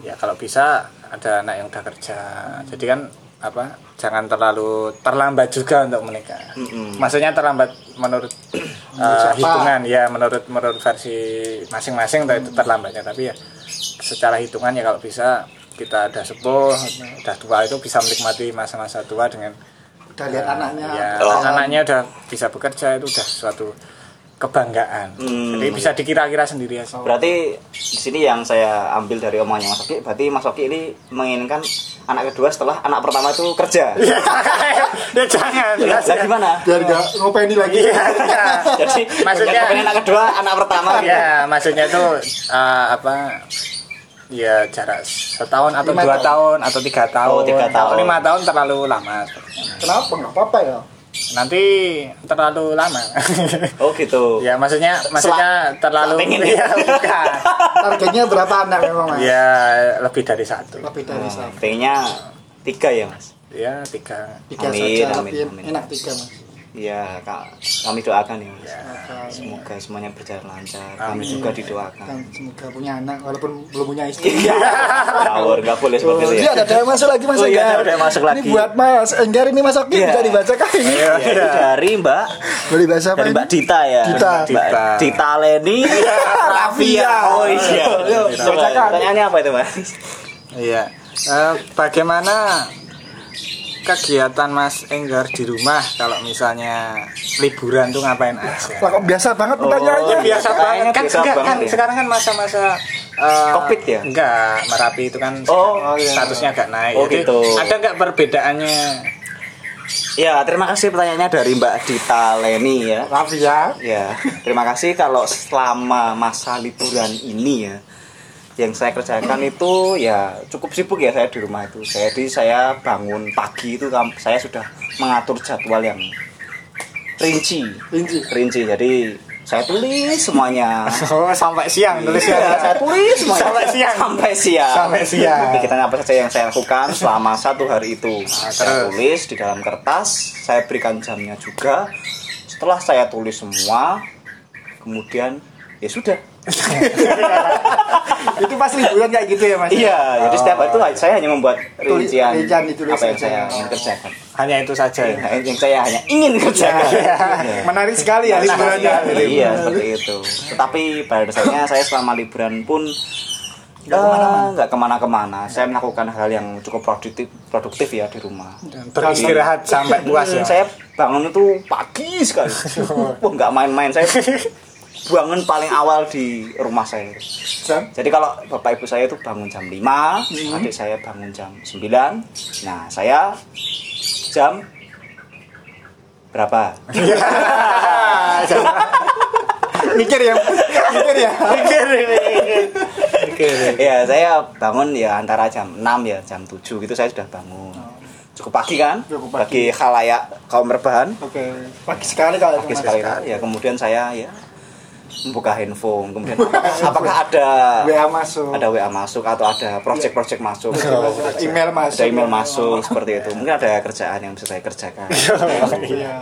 Speaker 3: Ya kalau bisa ada anak yang udah kerja. Jadi kan apa? Jangan terlalu terlambat juga untuk menikah.
Speaker 1: Mm-mm.
Speaker 3: Maksudnya terlambat menurut eh,
Speaker 2: siapa?
Speaker 3: hitungan ya menurut menurut versi masing-masing entah itu terlambatnya tapi ya secara hitungan ya kalau bisa kita udah sepuh udah tua itu bisa menikmati masa-masa tua dengan
Speaker 2: udah lihat anaknya
Speaker 3: ya,
Speaker 1: Iya. Kalau-
Speaker 3: anaknya udah bisa bekerja itu udah suatu kebanggaan
Speaker 1: Hmm.
Speaker 3: jadi bisa dikira-kira sendiri ya Sob.
Speaker 1: Berarti di sini yang saya ambil dari omongannya Mas Oki, berarti Mas Oki ini menginginkan anak kedua setelah anak pertama itu kerja.
Speaker 3: ya Iya. jangan Iya. ya,
Speaker 1: Lah gimana?
Speaker 2: biar nggak ngopeni lagi
Speaker 1: Iya. Jadi
Speaker 3: Maksudnya-
Speaker 1: yang pengen anak kedua, anak pertama gitu.
Speaker 3: ya maksudnya tuh eh, apa ya jarak setahun atau
Speaker 2: Lima
Speaker 3: dua
Speaker 2: tahun.
Speaker 3: tahun atau tiga tahun,
Speaker 1: Oh, tiga
Speaker 3: Kalau
Speaker 1: tahun.
Speaker 3: lima tahun terlalu lama sepertinya.
Speaker 2: kenapa nggak apa-apa ya
Speaker 3: nanti terlalu lama
Speaker 1: Oh gitu.
Speaker 3: ya maksudnya maksudnya terlalu
Speaker 1: pengen ya?
Speaker 3: ya bukan
Speaker 2: targetnya berapa anak memang mas
Speaker 1: Iya.
Speaker 3: ya lebih dari satu
Speaker 2: lebih
Speaker 1: Oh,
Speaker 2: dari satu
Speaker 1: pengennya tiga ya Mas.
Speaker 3: ya tiga
Speaker 2: tiga
Speaker 1: Amin,
Speaker 2: saja
Speaker 1: amin,
Speaker 2: tapi
Speaker 1: amin.
Speaker 2: enak tiga mas
Speaker 1: Iya, Kak. Kami doakan ya, Mas.
Speaker 2: Maka-
Speaker 1: Semoga semuanya berjalan lancar. Kami
Speaker 3: Amin.
Speaker 1: juga didoakan.
Speaker 2: dan semoga punya anak walaupun belum punya istri
Speaker 1: Iya. Ngawur, nggak boleh
Speaker 2: Oh,
Speaker 1: seperti itu
Speaker 2: iya,
Speaker 1: ya.
Speaker 2: ada yang masuk lagi Mas
Speaker 1: Oh, iya,
Speaker 2: Enggar.
Speaker 1: ada yang masuk lagi.
Speaker 2: Ini buat Mas Enggar ini Mas Oki
Speaker 1: Iya.
Speaker 2: bisa dibaca kah ini?
Speaker 3: Iya.
Speaker 1: Ya, itu dari Mbak
Speaker 2: Boleh bahasa apa
Speaker 1: dari
Speaker 2: ini?
Speaker 1: Mbak Dita ya.
Speaker 2: Dita.
Speaker 1: Mbak
Speaker 3: Dita.
Speaker 1: Dita Leni Rafia. Oh iya.
Speaker 2: Yo,
Speaker 1: Coba,
Speaker 2: bacakan.
Speaker 1: Pertanyaannya apa itu, Mas?
Speaker 3: Iya. Eh, bagaimana kegiatan Mas Enggar di rumah kalau misalnya liburan tuh ngapain aja?
Speaker 2: Wah, kok biasa banget pertanyaannya.
Speaker 1: Oh, iya.
Speaker 3: biasa
Speaker 1: Kayaknya
Speaker 3: banget kan
Speaker 1: biasa
Speaker 3: enggak,
Speaker 1: banget
Speaker 3: kan
Speaker 1: ya.
Speaker 3: sekarang kan masa-masa eh,
Speaker 1: Covid ya?
Speaker 3: enggak merapi itu kan
Speaker 1: Oh,
Speaker 3: sekarang
Speaker 1: oh, iya.
Speaker 3: statusnya agak naik
Speaker 1: Oh,
Speaker 3: Jadi,
Speaker 1: gitu.
Speaker 3: ada nggak perbedaannya
Speaker 1: Ya, terima kasih pertanyaannya dari Mbak Dita Leni ya.
Speaker 2: Maaf ya.
Speaker 1: Ya, terima kasih kalau selama masa liburan ini ya yang saya kerjakan itu ya cukup sibuk ya saya di rumah itu. Jadi saya bangun pagi itu kam- saya sudah mengatur jadwal yang rinci,
Speaker 2: Inci.
Speaker 1: rinci. Jadi saya tulis semuanya.
Speaker 3: oh, sampai siang tulisnya
Speaker 1: Iya, saya tulis semuanya
Speaker 3: Sampai siang.
Speaker 1: Sampai siang.
Speaker 3: Sampai siang.
Speaker 1: Kegiatan apa saja yang saya lakukan selama satu hari itu. Nah, saya
Speaker 3: terus?
Speaker 1: tulis di dalam kertas, saya berikan jamnya juga. Setelah saya tulis semua, kemudian ya sudah.
Speaker 2: Itu pas liburan kayak gitu ya Mas.
Speaker 1: Iya, jadi setiap hari itu saya hanya membuat
Speaker 2: Tulis-
Speaker 1: rincian
Speaker 2: rincian ditulis
Speaker 1: apa yang
Speaker 2: saja.
Speaker 1: saya ingin kerjakan. Nah,
Speaker 3: hanya itu saja ya.
Speaker 1: Yang yang saya hanya ingin kerjakan. Iya.
Speaker 2: Menarik sekali ya liburannya.
Speaker 1: Iya seperti itu. Tetapi pada dasarnya saya selama liburan pun nggak kemana-mana. Nggak kemana-kemana. Saya melakukan hal yang cukup produktif, produktif ya di rumah.
Speaker 3: Dan beristirahat sampai puas ya.
Speaker 1: Saya bangun itu pagi sekali. Wah nggak main-main saya bangun paling awal di rumah saya.
Speaker 2: Sam.
Speaker 1: Jadi kalau bapak ibu saya itu bangun jam 5,
Speaker 3: Hmm.
Speaker 1: adik saya bangun jam 9. Nah, saya jam berapa?
Speaker 2: Mikir ya. Mikir ya.
Speaker 3: Oke.
Speaker 1: ya saya bangun ya antara jam 6 ya jam 7 gitu saya sudah bangun cukup pagi kan
Speaker 2: Oh. Cukup
Speaker 1: bagi khalayak kaum rebahan
Speaker 2: Oke. Pagi sekali kalau itu,
Speaker 1: pagi
Speaker 2: Mas.
Speaker 1: sekali ya kemudian saya ya membuka handphone kemudian apakah ada
Speaker 2: WA masuk.
Speaker 1: ada WA masuk atau ada project-project masuk
Speaker 2: Email masuk.
Speaker 1: ada email masuk seperti itu mungkin ada kerjaan yang bisa saya kerjakan
Speaker 2: Iya.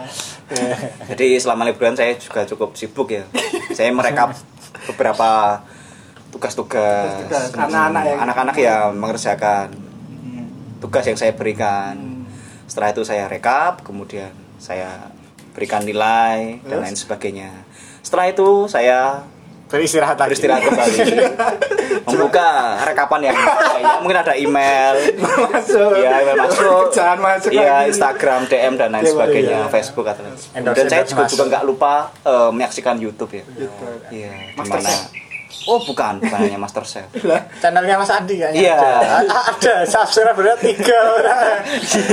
Speaker 1: jadi selama liburan saya juga cukup sibuk ya saya merekap beberapa tugas-tugas
Speaker 2: Tugas-tugas,
Speaker 1: Hmm.
Speaker 2: anak-anak ya.
Speaker 1: anak-anak ya mengerjakan tugas yang saya berikan setelah itu saya rekap kemudian saya berikan nilai dan
Speaker 2: Terus?
Speaker 1: lain sebagainya setelah itu saya
Speaker 3: beristirahat
Speaker 2: Iya.
Speaker 3: lagi
Speaker 1: beristirahat kembali membuka rekapan yang lainnya. mungkin ada email
Speaker 2: Iya, masuk
Speaker 1: ya email masuk
Speaker 2: Jangan masuk
Speaker 1: ya
Speaker 2: lagi.
Speaker 1: Instagram DM dan lain
Speaker 2: Iya,
Speaker 1: sebagainya
Speaker 2: iya.
Speaker 1: Facebook atau lain sebagainya. dan
Speaker 3: Endorse-
Speaker 1: saya
Speaker 3: endorse
Speaker 1: juga juga
Speaker 3: masuk.
Speaker 1: nggak lupa eh, menyaksikan YouTube ya
Speaker 2: Gitu.
Speaker 1: iya
Speaker 2: Master
Speaker 1: gimana
Speaker 2: Chef.
Speaker 1: oh bukan bukan hanya Master Chef
Speaker 3: channelnya Mas Andi kayaknya
Speaker 1: Iya.
Speaker 3: ada, ada subscribernya tiga orang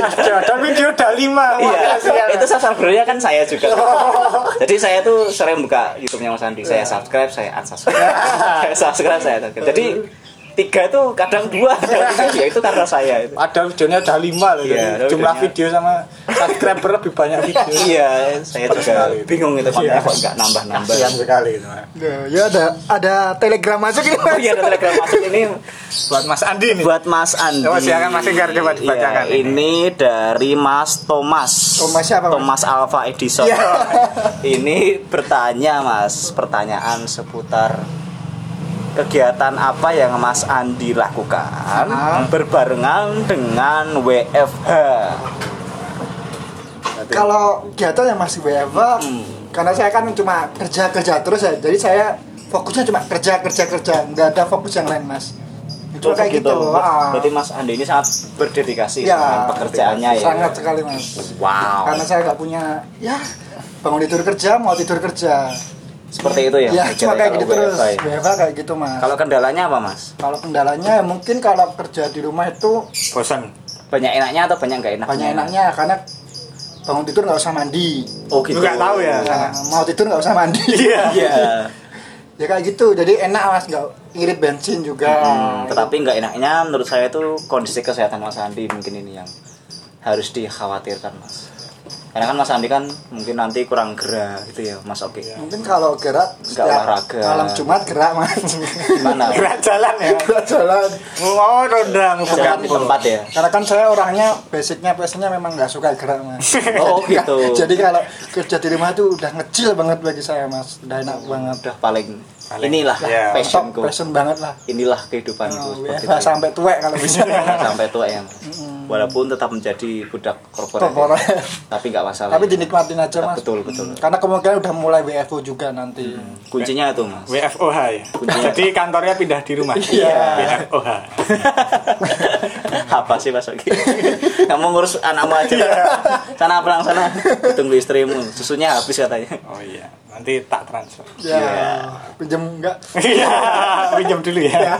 Speaker 3: ada dan video udah lima Wah,
Speaker 1: Iya, Oh.
Speaker 3: kasihan.
Speaker 1: itu subscribernya kan saya juga. Jadi saya tuh sering buka YouTube-nya Mas Andi. Saya subscribe, saya unsubscribe. saya subscribe, saya unsubscribe. Jadi tiga itu kadang dua, kadang tiga. ya itu karena saya. itu.
Speaker 3: ada videonya udah lima loh
Speaker 1: Iya,
Speaker 3: jadi
Speaker 1: ada
Speaker 3: jumlah
Speaker 1: videonya.
Speaker 3: video sama subscriber lebih banyak video
Speaker 1: Iya, saya juga
Speaker 3: Sekali.
Speaker 1: bingung itu Iya.
Speaker 3: Iya.
Speaker 1: konten kok nggak nambah-nambah.
Speaker 3: kasihan sekali itu Mas.
Speaker 2: Duh, ya ada ada telegram gitu. masuk ini
Speaker 1: Oh iya, ada telegram masuk ini
Speaker 3: buat Mas Andi nih
Speaker 1: buat Mas Andi.
Speaker 2: Oh,
Speaker 3: Coba silakan Mas Enggar, coba dibacakan.
Speaker 1: Iya, ini dari Mas Thomas.
Speaker 2: Thomas siapa, Mas? Iya.
Speaker 1: Thomas Alpha Edison. ini bertanya Mas, pertanyaan seputar kegiatan apa yang Mas Andi lakukan
Speaker 2: Ah.
Speaker 1: berbarengan dengan WFH.
Speaker 2: kalau kegiatan yang masih WFA
Speaker 1: Hmm.
Speaker 2: karena saya kan cuma kerja kerja terus ya jadi saya fokusnya cuma kerja kerja kerja nggak ada fokus yang lain mas cuma
Speaker 1: Terus
Speaker 2: kayak gitu, ah.
Speaker 1: Oh, Berarti Mas Andi ini sangat berdedikasi
Speaker 2: Ya,
Speaker 1: dengan pekerjaannya ya.
Speaker 2: sangat sekali mas
Speaker 1: Wow.
Speaker 2: karena saya nggak punya ya bangun tidur kerja mau tidur kerja
Speaker 1: Seperti itu ya.
Speaker 2: ya
Speaker 1: kerjanya
Speaker 2: cuma kayak
Speaker 1: kalau
Speaker 2: gitu terus
Speaker 1: WFH ya.
Speaker 2: WFA kayak gitu mas
Speaker 1: Kalau kendalanya apa Mas?
Speaker 2: kalau kendalanya ya mungkin kalau kerja di rumah itu
Speaker 3: bosan
Speaker 1: Banyak enaknya atau banyak nggak enaknya?
Speaker 2: banyak enaknya karena bangun tidur nggak usah mandi
Speaker 1: Iya. Oh gitu.
Speaker 3: Nggak tahu ya.
Speaker 2: Ya, mau tidur nggak usah mandi
Speaker 1: Iya.
Speaker 2: ya kayak gitu jadi enak mas nggak irit bensin juga
Speaker 1: Hmm, tetapi nggak enaknya menurut saya itu kondisi kesehatan Mas Andi mungkin ini yang harus dikhawatirkan Mas. Karena kan Mas Andi kan mungkin nanti kurang gerak gitu ya Mas Oke.
Speaker 2: mungkin kalau gerak setiap
Speaker 1: olahraga.
Speaker 2: malam jumat gerak mas
Speaker 1: Gimana?
Speaker 3: gerak jalan ya
Speaker 2: gerak jalan
Speaker 3: mau rondang
Speaker 1: Jalan di tempat ya.
Speaker 2: karena kan saya orangnya basicnya biasanya memang nggak suka gerak mas
Speaker 1: Oh
Speaker 2: Jadi
Speaker 1: gitu.
Speaker 2: ka- jadi kalau kerja di rumah tuh udah ngecil banget bagi saya mas udah enak banget
Speaker 1: udah paling inilah
Speaker 3: Ya.
Speaker 2: top
Speaker 1: passionku.
Speaker 2: passion banget lah
Speaker 1: Inilah kehidupanku
Speaker 2: Oh,
Speaker 1: seperti
Speaker 2: WFH
Speaker 1: itu.
Speaker 2: sampai tuwek kalau bisa
Speaker 1: sampai tua ya Mas. Walaupun tetap menjadi budak korporat. ya.
Speaker 2: Pokoknya.
Speaker 1: Tapi nggak masalah. ya.
Speaker 2: tapi dinikmatin aja mas
Speaker 1: Betul, betul. Hmm.
Speaker 2: karena kemungkinan udah mulai WFO juga nanti
Speaker 1: Kuncinya itu Mas.
Speaker 3: WFOH ya jadi kantornya pindah di rumah
Speaker 2: Iya.
Speaker 3: WFOH
Speaker 1: apa sih Mas Oki? Kamu ngurus anakmu aja.
Speaker 2: Iya.
Speaker 1: Sana pulang sana. Tunggu istrimu. Susunya habis katanya.
Speaker 3: oh iya nanti tak transfer
Speaker 2: ya
Speaker 1: Iya.
Speaker 2: pinjam enggak
Speaker 3: iya pinjam dulu
Speaker 2: ya
Speaker 3: ya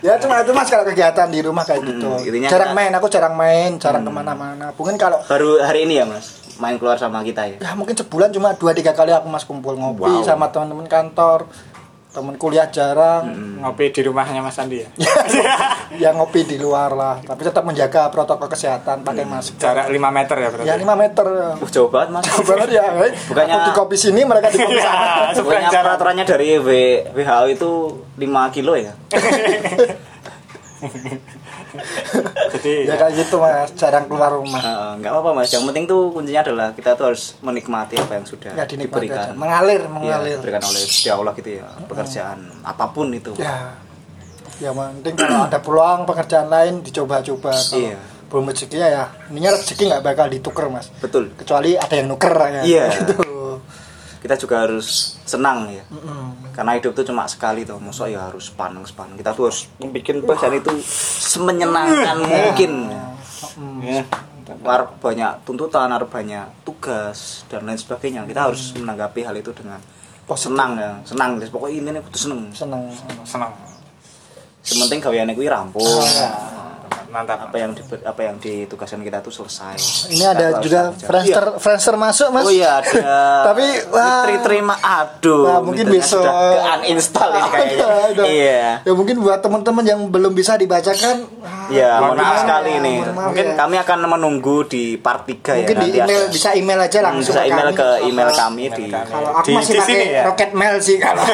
Speaker 2: ya cuma itu mas kalau kegiatan di rumah kayak gitu
Speaker 1: Hmm, intinya Hmm.
Speaker 2: jarang
Speaker 1: kita-
Speaker 2: main aku jarang main jarang kemana-mana mungkin kalau
Speaker 1: Baru hari ini ya Mas main keluar sama kita ya.
Speaker 2: ya mungkin sebulan cuma dua tiga kali aku mas kumpul
Speaker 1: Wow.
Speaker 2: ngopi sama teman-teman kantor teman kuliah
Speaker 1: Hmm.
Speaker 2: jarang
Speaker 3: ngopi di rumahnya Mas Andi ya
Speaker 2: ya ngopi di luar lah tapi tetap menjaga protokol kesehatan pakai
Speaker 1: Hmm.
Speaker 2: masker
Speaker 3: jarak 5 meter ya berarti
Speaker 2: ya 5 meter
Speaker 1: Uh, jauh banget Mas.
Speaker 2: Jauh banget ya eh.
Speaker 1: Bukannya-
Speaker 2: aku di kopi sini mereka di kopi sana
Speaker 1: Iya,
Speaker 3: ya seberang
Speaker 1: Pokoknya
Speaker 3: jarak
Speaker 1: peraturannya dari W- WHO itu 5 kilo ya.
Speaker 3: jadi
Speaker 2: ya
Speaker 1: Iya. kan?
Speaker 2: kayak gitu mas jarang keluar rumah
Speaker 1: Eh, nggak apa-apa Mas. Yang penting tuh kuncinya adalah kita tuh harus menikmati apa yang sudah
Speaker 2: ya dinikmati aja.
Speaker 1: diberikan.
Speaker 2: mengalir
Speaker 1: Ya,
Speaker 2: mengalir
Speaker 1: diberikan oleh Gusti Allah gitu ya. Pekerjaan apapun itu.
Speaker 2: ya ya penting kalau ada peluang pekerjaan lain dicoba-coba Kalau
Speaker 1: Iya.
Speaker 2: belum rezekinya ya ininya rezeki nggak bakal ditukar mas
Speaker 1: Betul.
Speaker 2: kecuali ada yang nuker ya
Speaker 1: Iya.
Speaker 2: gitu
Speaker 1: Kita juga harus senang ya.
Speaker 2: Mm.
Speaker 1: karena hidup tuh cuma sekali tuh masa ya harus sepaneng sepaneng kita tuh harus bikin pekerjaan itu semenyenangkan
Speaker 2: Mm.
Speaker 1: mungkin
Speaker 3: ya.
Speaker 1: harus banyak tuntutan harus banyak tugas dan lain sebagainya kita harus
Speaker 2: Mm.
Speaker 1: menanggapi hal itu dengan oh, senang ya senang guys pokoknya intinya kudu seneng
Speaker 2: seneng
Speaker 3: senang
Speaker 1: sementing gaweane kuwi ya
Speaker 2: Oh,
Speaker 1: rampung
Speaker 2: ya.
Speaker 3: mantap
Speaker 1: apa yang di, apa yang ditugaskan kita tuh selesai
Speaker 2: ini
Speaker 1: Kita
Speaker 2: ada juga
Speaker 1: harus Iya. kerja.
Speaker 2: friendster friendster masuk mas
Speaker 1: Oh iya ada.
Speaker 2: Tapi, wah.
Speaker 1: Mitri terima aduh.
Speaker 2: Nah, mungkin
Speaker 1: Mitrinya
Speaker 2: besok.
Speaker 1: sudah ke uninstall ini kayaknya.
Speaker 2: Ada, ada.
Speaker 1: Iya.
Speaker 2: Ya mungkin buat teman-teman yang belum bisa dibacakan. ah,
Speaker 1: Ya, mohon maaf
Speaker 2: gimana
Speaker 1: sekali
Speaker 2: ya,
Speaker 1: ini.
Speaker 2: mohon maaf
Speaker 1: Mungkin
Speaker 2: ya.
Speaker 1: kami akan menunggu di part 3
Speaker 2: mungkin
Speaker 1: ya
Speaker 2: di
Speaker 1: nanti
Speaker 2: email
Speaker 1: ada.
Speaker 2: bisa email aja
Speaker 1: Hmm,
Speaker 2: langsung
Speaker 1: bisa
Speaker 2: ke
Speaker 1: email
Speaker 2: kami.
Speaker 1: ke email kami di
Speaker 2: Kalau aku
Speaker 3: Di-
Speaker 2: masih
Speaker 3: di
Speaker 2: pakai
Speaker 3: sini ya?
Speaker 2: rocket mail sih kalau.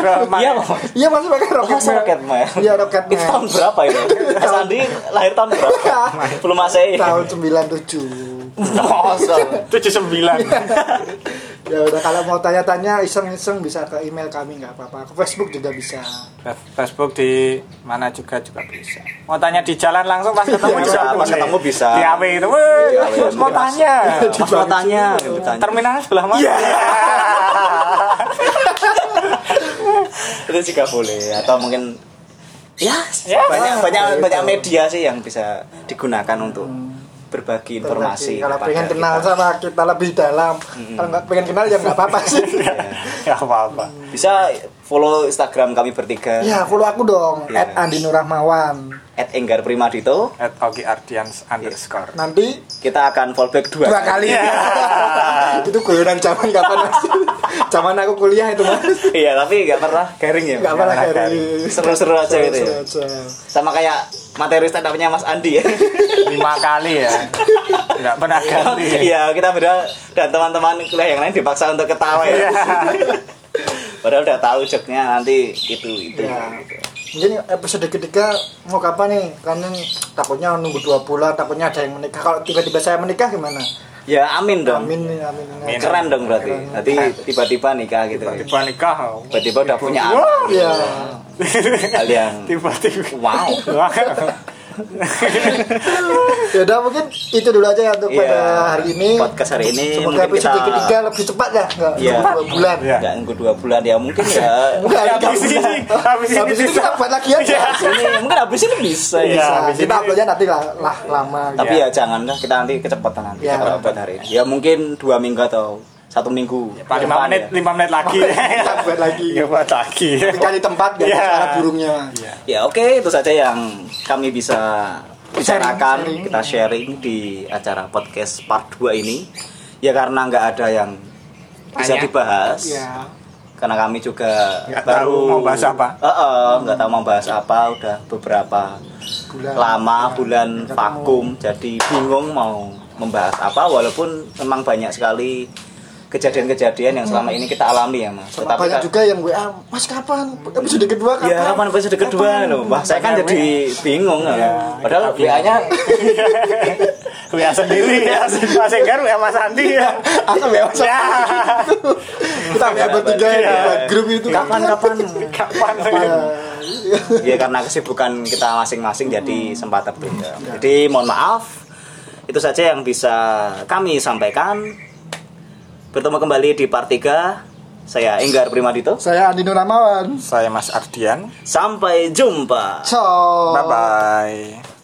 Speaker 1: Iya, Mas.
Speaker 2: Iya masih pakai rocket
Speaker 1: Masa
Speaker 2: mail.
Speaker 1: Rocket Mail?
Speaker 2: Iya rocket
Speaker 1: Itu
Speaker 2: mail.
Speaker 1: tahun berapa ini? Mas Andi lahir tahun berapa? Belum Masehi.
Speaker 2: Tahun 97.
Speaker 1: Nossa.
Speaker 3: 79
Speaker 2: ya udah kalau mau tanya-tanya iseng-iseng bisa ke email kami nggak apa-apa ke Facebook juga bisa
Speaker 3: Fa- Facebook di mana juga juga bisa. Mau tanya di jalan langsung pas ketemu
Speaker 1: Iya, Bisa,
Speaker 3: juga
Speaker 1: pas
Speaker 3: boleh.
Speaker 1: ketemu bisa.
Speaker 3: Di AW itu, weh,
Speaker 1: Di AW.
Speaker 3: mau tanya.
Speaker 1: Mas mau tanya, Iya. gitu, tanya.
Speaker 3: Terminalnya sebelah mana?
Speaker 1: itu juga boleh atau mungkin ya
Speaker 3: Ya.
Speaker 1: banyak banyak banyak media sih yang bisa digunakan untuk berbagi informasi
Speaker 2: Hmm. kalau
Speaker 1: kepada
Speaker 2: pengen kenal
Speaker 1: kita.
Speaker 2: sama kita lebih dalam kalau nggak pengen kenal ya nggak apa-apa sih
Speaker 3: Ya apa-apa.
Speaker 1: bisa follow Instagram kami bertiga
Speaker 2: ya follow aku dong
Speaker 1: Iya.
Speaker 2: at Andi Nur Rahmawan
Speaker 1: at Enggar Primadito
Speaker 3: At Ogi Ardians underscore.
Speaker 2: nanti
Speaker 1: kita akan fallback dua,
Speaker 2: dua kali itu guyonan zaman kapan mas zaman aku kuliah itu mas
Speaker 1: iya tapi nggak pernah garing ya
Speaker 2: nggak pernah dari
Speaker 1: seru-seru aja gitu ya sama kayak materi stand up-nya Mas Andi ya
Speaker 3: Lima kali ya. Nggak pernah ganti.
Speaker 1: Iya, kita beda dan teman-teman kuliah yang lain dipaksa untuk ketawa
Speaker 2: Iya.
Speaker 1: ya. Padahal udah tahu joknya nanti itu Gitu. itu.
Speaker 2: Ya. Mungkin episode ketiga mau kapan nih? Karena takutnya nunggu dua bulan, takutnya ada yang menikah. Kalau tiba-tiba saya menikah gimana?
Speaker 1: Ya amin dong.
Speaker 2: Amin,
Speaker 3: Iya.
Speaker 2: amin. amin.
Speaker 1: Keren dong berarti. Nanti tiba-tiba nikah gitu.
Speaker 3: Tiba-tiba nikah. oh.
Speaker 1: Tiba-tiba udah punya anak.
Speaker 3: Wah.
Speaker 2: Ya,
Speaker 1: Hal yang
Speaker 3: Tiba-tiba.
Speaker 1: wow.
Speaker 3: Wah.
Speaker 2: ya udah mungkin itu dulu aja ya untuk pada
Speaker 1: Iya.
Speaker 2: hari ini.
Speaker 1: Podcast hari ini
Speaker 2: Semoga
Speaker 1: mungkin
Speaker 2: episode
Speaker 1: kita-
Speaker 2: ketiga lebih cepat ya, nggak
Speaker 1: Iya.
Speaker 2: nunggu dua bulan.
Speaker 3: Iya.
Speaker 1: Nggak nunggu dua bulan ya mungkin ya.
Speaker 2: Nggak,
Speaker 3: Ya,
Speaker 2: nggak
Speaker 3: habis
Speaker 2: bulan.
Speaker 3: ini, habis ini
Speaker 2: Habis ini
Speaker 3: bisa.
Speaker 2: kita buat lagi aja.
Speaker 3: Iya.
Speaker 1: Ini mungkin habis ini bisa
Speaker 3: Iya.
Speaker 1: ya.
Speaker 2: Nah,
Speaker 3: habis
Speaker 2: kita
Speaker 3: ini-
Speaker 2: uploadnya nanti lah, lah lama. gitu.
Speaker 1: Tapi ya jangan lah kita nanti kecepatan nanti
Speaker 2: Iya.
Speaker 1: kalau buat hari ini. Ya mungkin dua minggu atau satu minggu.
Speaker 3: Pak, Lima
Speaker 1: Depan
Speaker 3: menit,
Speaker 1: ya.
Speaker 3: lima menit lagi.
Speaker 2: Kita buat lagi.
Speaker 3: Iya, buat lagi.
Speaker 2: Cari tempat nggak
Speaker 3: Iya.
Speaker 2: ada suara burungnya.
Speaker 3: Iya.
Speaker 1: Ya oke itu saja yang kami bisa bicarakan
Speaker 2: Sharing, sharing.
Speaker 1: kita sharing di acara podcast part 2 ini ya karena nggak ada yang bisa
Speaker 3: Tanya.
Speaker 1: dibahas
Speaker 2: Iya.
Speaker 1: karena kami juga
Speaker 3: Nggak tahu mau bahas apa.
Speaker 1: Eh-eh, nggak tahu mau bahas apa udah beberapa
Speaker 2: Bulan.
Speaker 1: lama
Speaker 2: Iya.
Speaker 1: bulan
Speaker 2: Nggak ketemu.
Speaker 1: vakum jadi bingung mau membahas apa walaupun memang banyak sekali kejadian-kejadian yang selama ini kita alami ya mas.
Speaker 2: Sama
Speaker 1: ka-
Speaker 2: banyak juga yang WA, Mas kapan? Episode kedua kapan? Iya.
Speaker 1: Ya, kapan episode kedua loh. Wah, saya kan jadi bingung. Ya. Padahal WA-nya
Speaker 3: WA sendiri ya. Mas Enggar, WA Mas Andi ya.
Speaker 2: Aku bebas.
Speaker 3: Ya.
Speaker 2: Kita WA bertiga ya,
Speaker 1: Iya.
Speaker 2: buat grup itu.
Speaker 1: kapan-kapan.
Speaker 3: Kapan?
Speaker 1: ya karena kesibukan kita masing-masing jadi sempat
Speaker 2: Iya.
Speaker 1: berbeda. Jadi mohon maaf. Itu saja yang bisa kami sampaikan. Bertemu kembali di part 3. Saya Enggar Primadito.
Speaker 2: Saya Andi Nuramawan.
Speaker 3: Saya Mas Ardian.
Speaker 1: Sampai jumpa.
Speaker 3: Oh.
Speaker 2: Ciao.
Speaker 3: Bye-bye.